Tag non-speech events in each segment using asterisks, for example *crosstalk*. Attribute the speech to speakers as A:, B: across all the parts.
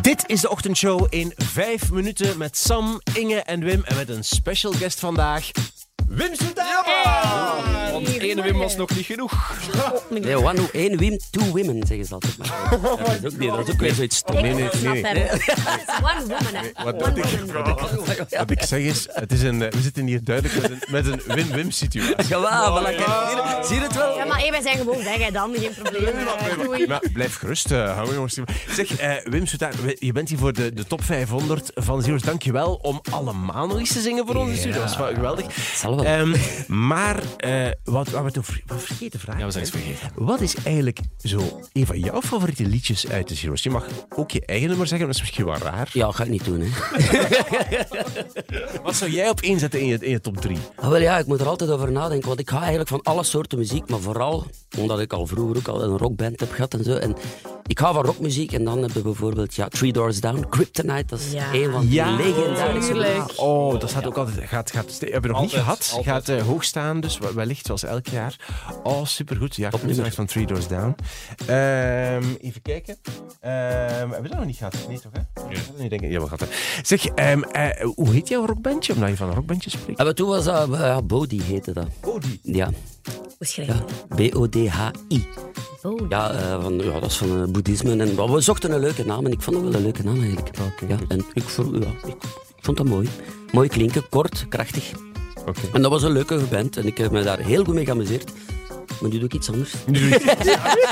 A: Dit is de ochtendshow in vijf minuten met Sam, Inge en Wim. En met een special guest vandaag, Wim Soetama!
B: Want één Wim was nog niet genoeg.
C: Nee, one, één Wim, two women, zeggen ze altijd. Maar.
D: *laughs*
C: dat, is ook, nee, dat is ook weer zoiets stom.
D: Oh Ik snap hem.
C: *laughs*
B: *laughs*
D: Het is One woman, hè.
A: Wat
D: One
A: doe ik?
D: woman.
A: Wat ik zeg is, het is een, eh, we zitten hier duidelijk met een, met een win-win *laughs* situatie.
C: Jawel, voilà, kijk, zie je- zie je het wel?
D: Oh. Ja, maar hey, wij zijn gewoon weg, hè, dan. Geen probleem. eh, Doei.
A: Maar blijf gerust, eh, hou houden jongens. Zeg, eh, Wim Soetama, we- je bent hier voor de, de top 500 van Zero's. Dankjewel om allemaal nog eens te zingen voor onze studio. Dat is wel geweldig.
C: zal wel.
A: Ehm, maar eh, wat, wat we toen ver- wat vergeten vragen.
B: Ja, we zijn iets vergeten.
A: Wat is eigenlijk zo een van jouw favoriete liedjes uit de Zero's? Je mag ook je eigen nummer zeggen, maar dat is misschien wel raar.
C: Ja, ga ik niet doen, hè.
A: Wat zou jij op één zetten in je, in je top 3?
C: Ah, wel ja, ik moet er altijd over nadenken, want ik ga eigenlijk van alle soorten muziek, maar vooral omdat ik al vroeger ook al een rockband heb gehad en zo. En ik ga van rockmuziek en dan hebben we bijvoorbeeld ja, Three Doors Down, Kryptonite, dat is
D: Ja.
C: een van de
A: Ja,
C: legendarische nummers.
A: Oh, dat staat ook altijd. Gaat, gaat, ste- hebben we nog niet
B: Altijd,
A: gehad?
B: altijd.
A: Gaat eh, hoog staan, dus we- wellicht zoals elk jaar. Oh, supergoed. Ja, komt
C: nummer.
A: van Three Doors Down. Ehm, even kijken. Ehm, hebben we dat nog niet gehad? Nee, toch? Hè? Nee, denk ik. Ja, we gaan het. Zeg, ehm, eh, hoe heet jouw rockbandje? Omdat je van een rockbandje spreekt.
C: En maar toen was dat, eh, Bodhi heette dat.
A: Bodhi.
C: Ja,
D: Hoe schrijf je
C: ja. B-O-D-H-I.
D: dat? Oh,
C: Ja, eh, van, ja, dat is van eh, boeddhisme. En, maar we zochten een leuke naam en ik vond het wel een leuke naam eigenlijk. ja, en ik, vond- ja, ik vond dat mooi. Mooi klinken, kort, krachtig.
A: Oké.
C: En dat was een leuke band en ik heb me daar heel goed mee geamuseerd. Maar nu doe ik iets anders.
A: *laughs*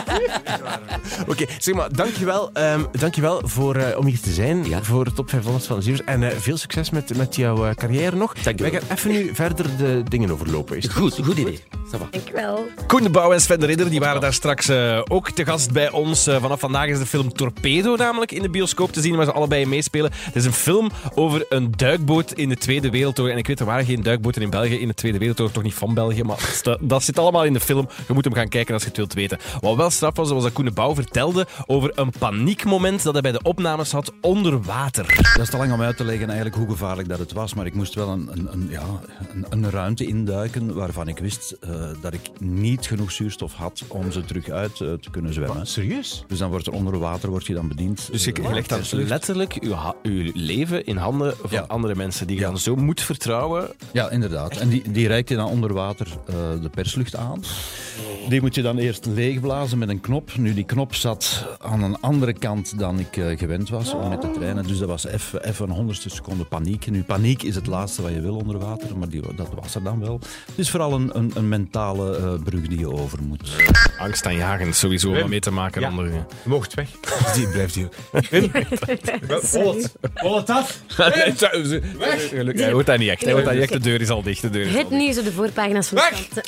A: Oké, zeg maar, dankjewel, ehm dankjewel voor, eh, om hier te zijn
C: Ja.
A: voor de top 500 van de Ziers. En eh, veel succes met, met jouw eh, carrière nog.
C: Dankjewel.
A: Wij gaan even nu verder de dingen overlopen. Is het
C: Goed, goed idee. Ça va.
D: dankjewel.
B: Koen de Bouw en Sven de Ridder die waren daar straks eh, ook te gast bij ons. Eh, vanaf vandaag is de film Torpedo namelijk in de bioscoop te zien, waar ze allebei in meespelen. Het is een film over een duikboot in de Tweede Wereldoorlog. En ik weet, er waren geen duikboten in België in de Tweede Wereldoorlog, toch niet van België, maar *laughs* st- dat zit allemaal in de film. Je moet hem gaan kijken als je het wilt weten. Wat wel straf was, was dat Koen de Bouw vertelde over een paniekmoment dat hij bij de opnames had onder water.
E: Dat is te lang om uit te leggen eigenlijk hoe gevaarlijk dat het was. Maar ik moest wel een, een, een, ja, een, een ruimte induiken waarvan ik wist eh, dat ik niet genoeg zuurstof had om ze terug uit eh, te kunnen zwemmen.
A: serieus?
E: Dus dan wordt er onder water wordt je dan bediend.
B: Dus je
E: eh,
B: je legt dan
E: met lucht.
B: letterlijk uw, ha- uw leven in handen van
E: Ja.
B: andere mensen die je
E: Ja.
B: dan zo moet vertrouwen.
E: Ja, inderdaad. En die, die reikt je dan onder water eh, de perslucht aan. Die moet je dan eerst leegblazen met een knop. Nu, die knop zat aan een andere kant dan ik eh, gewend was om met te trainen. Dus dat was even even een honderdste seconde paniek. Nu, paniek is het laatste wat je wil onder water, maar die, dat was er dan wel. Het is vooral een, een, een mentale eh, brug die je over moet.
B: Angst aanjagend sowieso om mee te maken aan anderen.
A: Je mocht weg. Die blijft *laughs* hier.
B: Gelukkig, hij hoort dat niet echt. Hij hoort dat niet echt. De deur is al dicht. De deur is al
D: Het
B: dicht.
D: nieuws op de voorpagina's van de
B: *laughs*
D: kranten.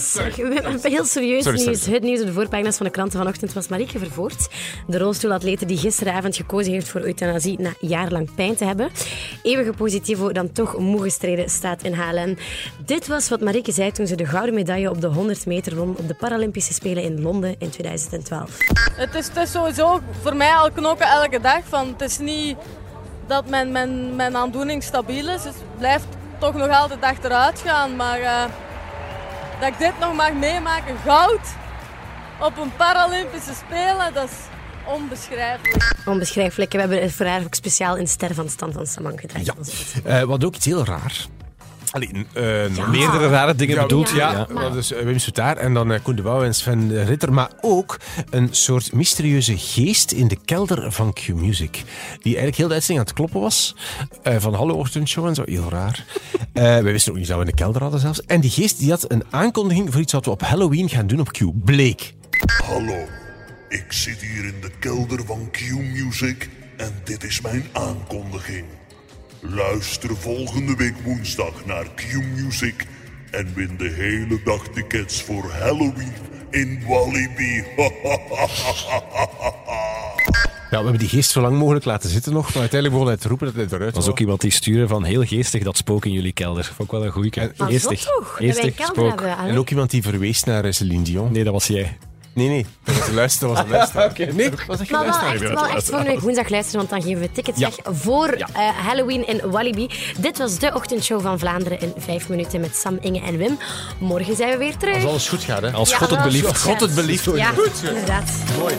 D: Zeg, we hebben heel serieus
B: Sorry, sorry,
D: nieuws. Het nieuws op de voorpagina's van de kranten vanochtend was Marieke Vervoort. De rolstoelatlete die gisteravond gekozen heeft voor euthanasie na jarenlang pijn te hebben. Eeuwige positivo dan toch moe gestreden staat in HLN. Dit was wat Marieke zei toen ze de gouden medaille op de 100 meter won op de Paralympische Spelen in Londen in 2012.
F: Het is, het is sowieso voor mij al knokken elke dag. Van, het is niet dat mijn, mijn, mijn aandoening stabiel is. Het blijft toch nog altijd achteruit gaan. Maar eh, dat ik dit nog mag meemaken, goud op een Paralympische Spelen, dat is onbeschrijfelijk.
D: Onbeschrijfelijk. We hebben het voor haar ook speciaal in Ster van Stan van Samang gedraaid.
A: Ja. Eh, wat ook iets heel raar. Alleen, eh,
D: Ja.
B: Meerdere rare dingen bedoeld.
A: bedoeld,
B: Ja.
A: ja. Dat is eh, Wim Soutaar en dan eh, Koen de Bouw en Sven de Ritter. Maar ook een soort mysterieuze geest in de kelder van Q-Music. Die eigenlijk heel de uitzending aan het kloppen was. eh, van hallo ochtendshow en zo. Heel *laughs* raar. Eh, wij wisten ook niet dat we in de kelder hadden zelfs. En die geest die had een aankondiging voor iets wat we op Halloween gaan doen op Q. Bleek.
G: Hallo, ik zit hier in de kelder van Q-Music en dit is mijn aankondiging. Luister volgende week woensdag naar Q-Music en win de hele dag tickets voor Halloween in Walibi. *laughs*
A: Ja, we hebben die geest zo lang mogelijk laten zitten nog. Maar uiteindelijk begon hij te roepen dat hij eruit
B: Er was
A: wou.
B: ook iemand die stuurde van heel geestig dat spook in jullie kelder. Vond ik wel een goeie keer.
D: Maar zot
B: Geestig.
D: toch? Dat wij een
B: Geestig
D: kelder
B: spook.
D: hebben.
A: En ook iemand die verwees naar eh, Celine Dion.
B: Nee, dat was *laughs* jij.
A: Nee, nee. Dat was een luister, dat was een luister. Nee, dat was echt
D: Maar wel echt, wel echt volgende week woensdag luisteren, want dan geven we tickets
B: Ja.
D: weg voor eh, Halloween in Walibi. Dit was de ochtendshow van Vlaanderen in vijf minuten met Sam, Inge en Wim. Morgen zijn we weer terug.
A: alles goed gaat, hè.
B: Als
D: Ja,
B: God het
D: wel.
B: belieft.
D: God het
A: belieft.
D: Ja, inderdaad.
A: Mooi.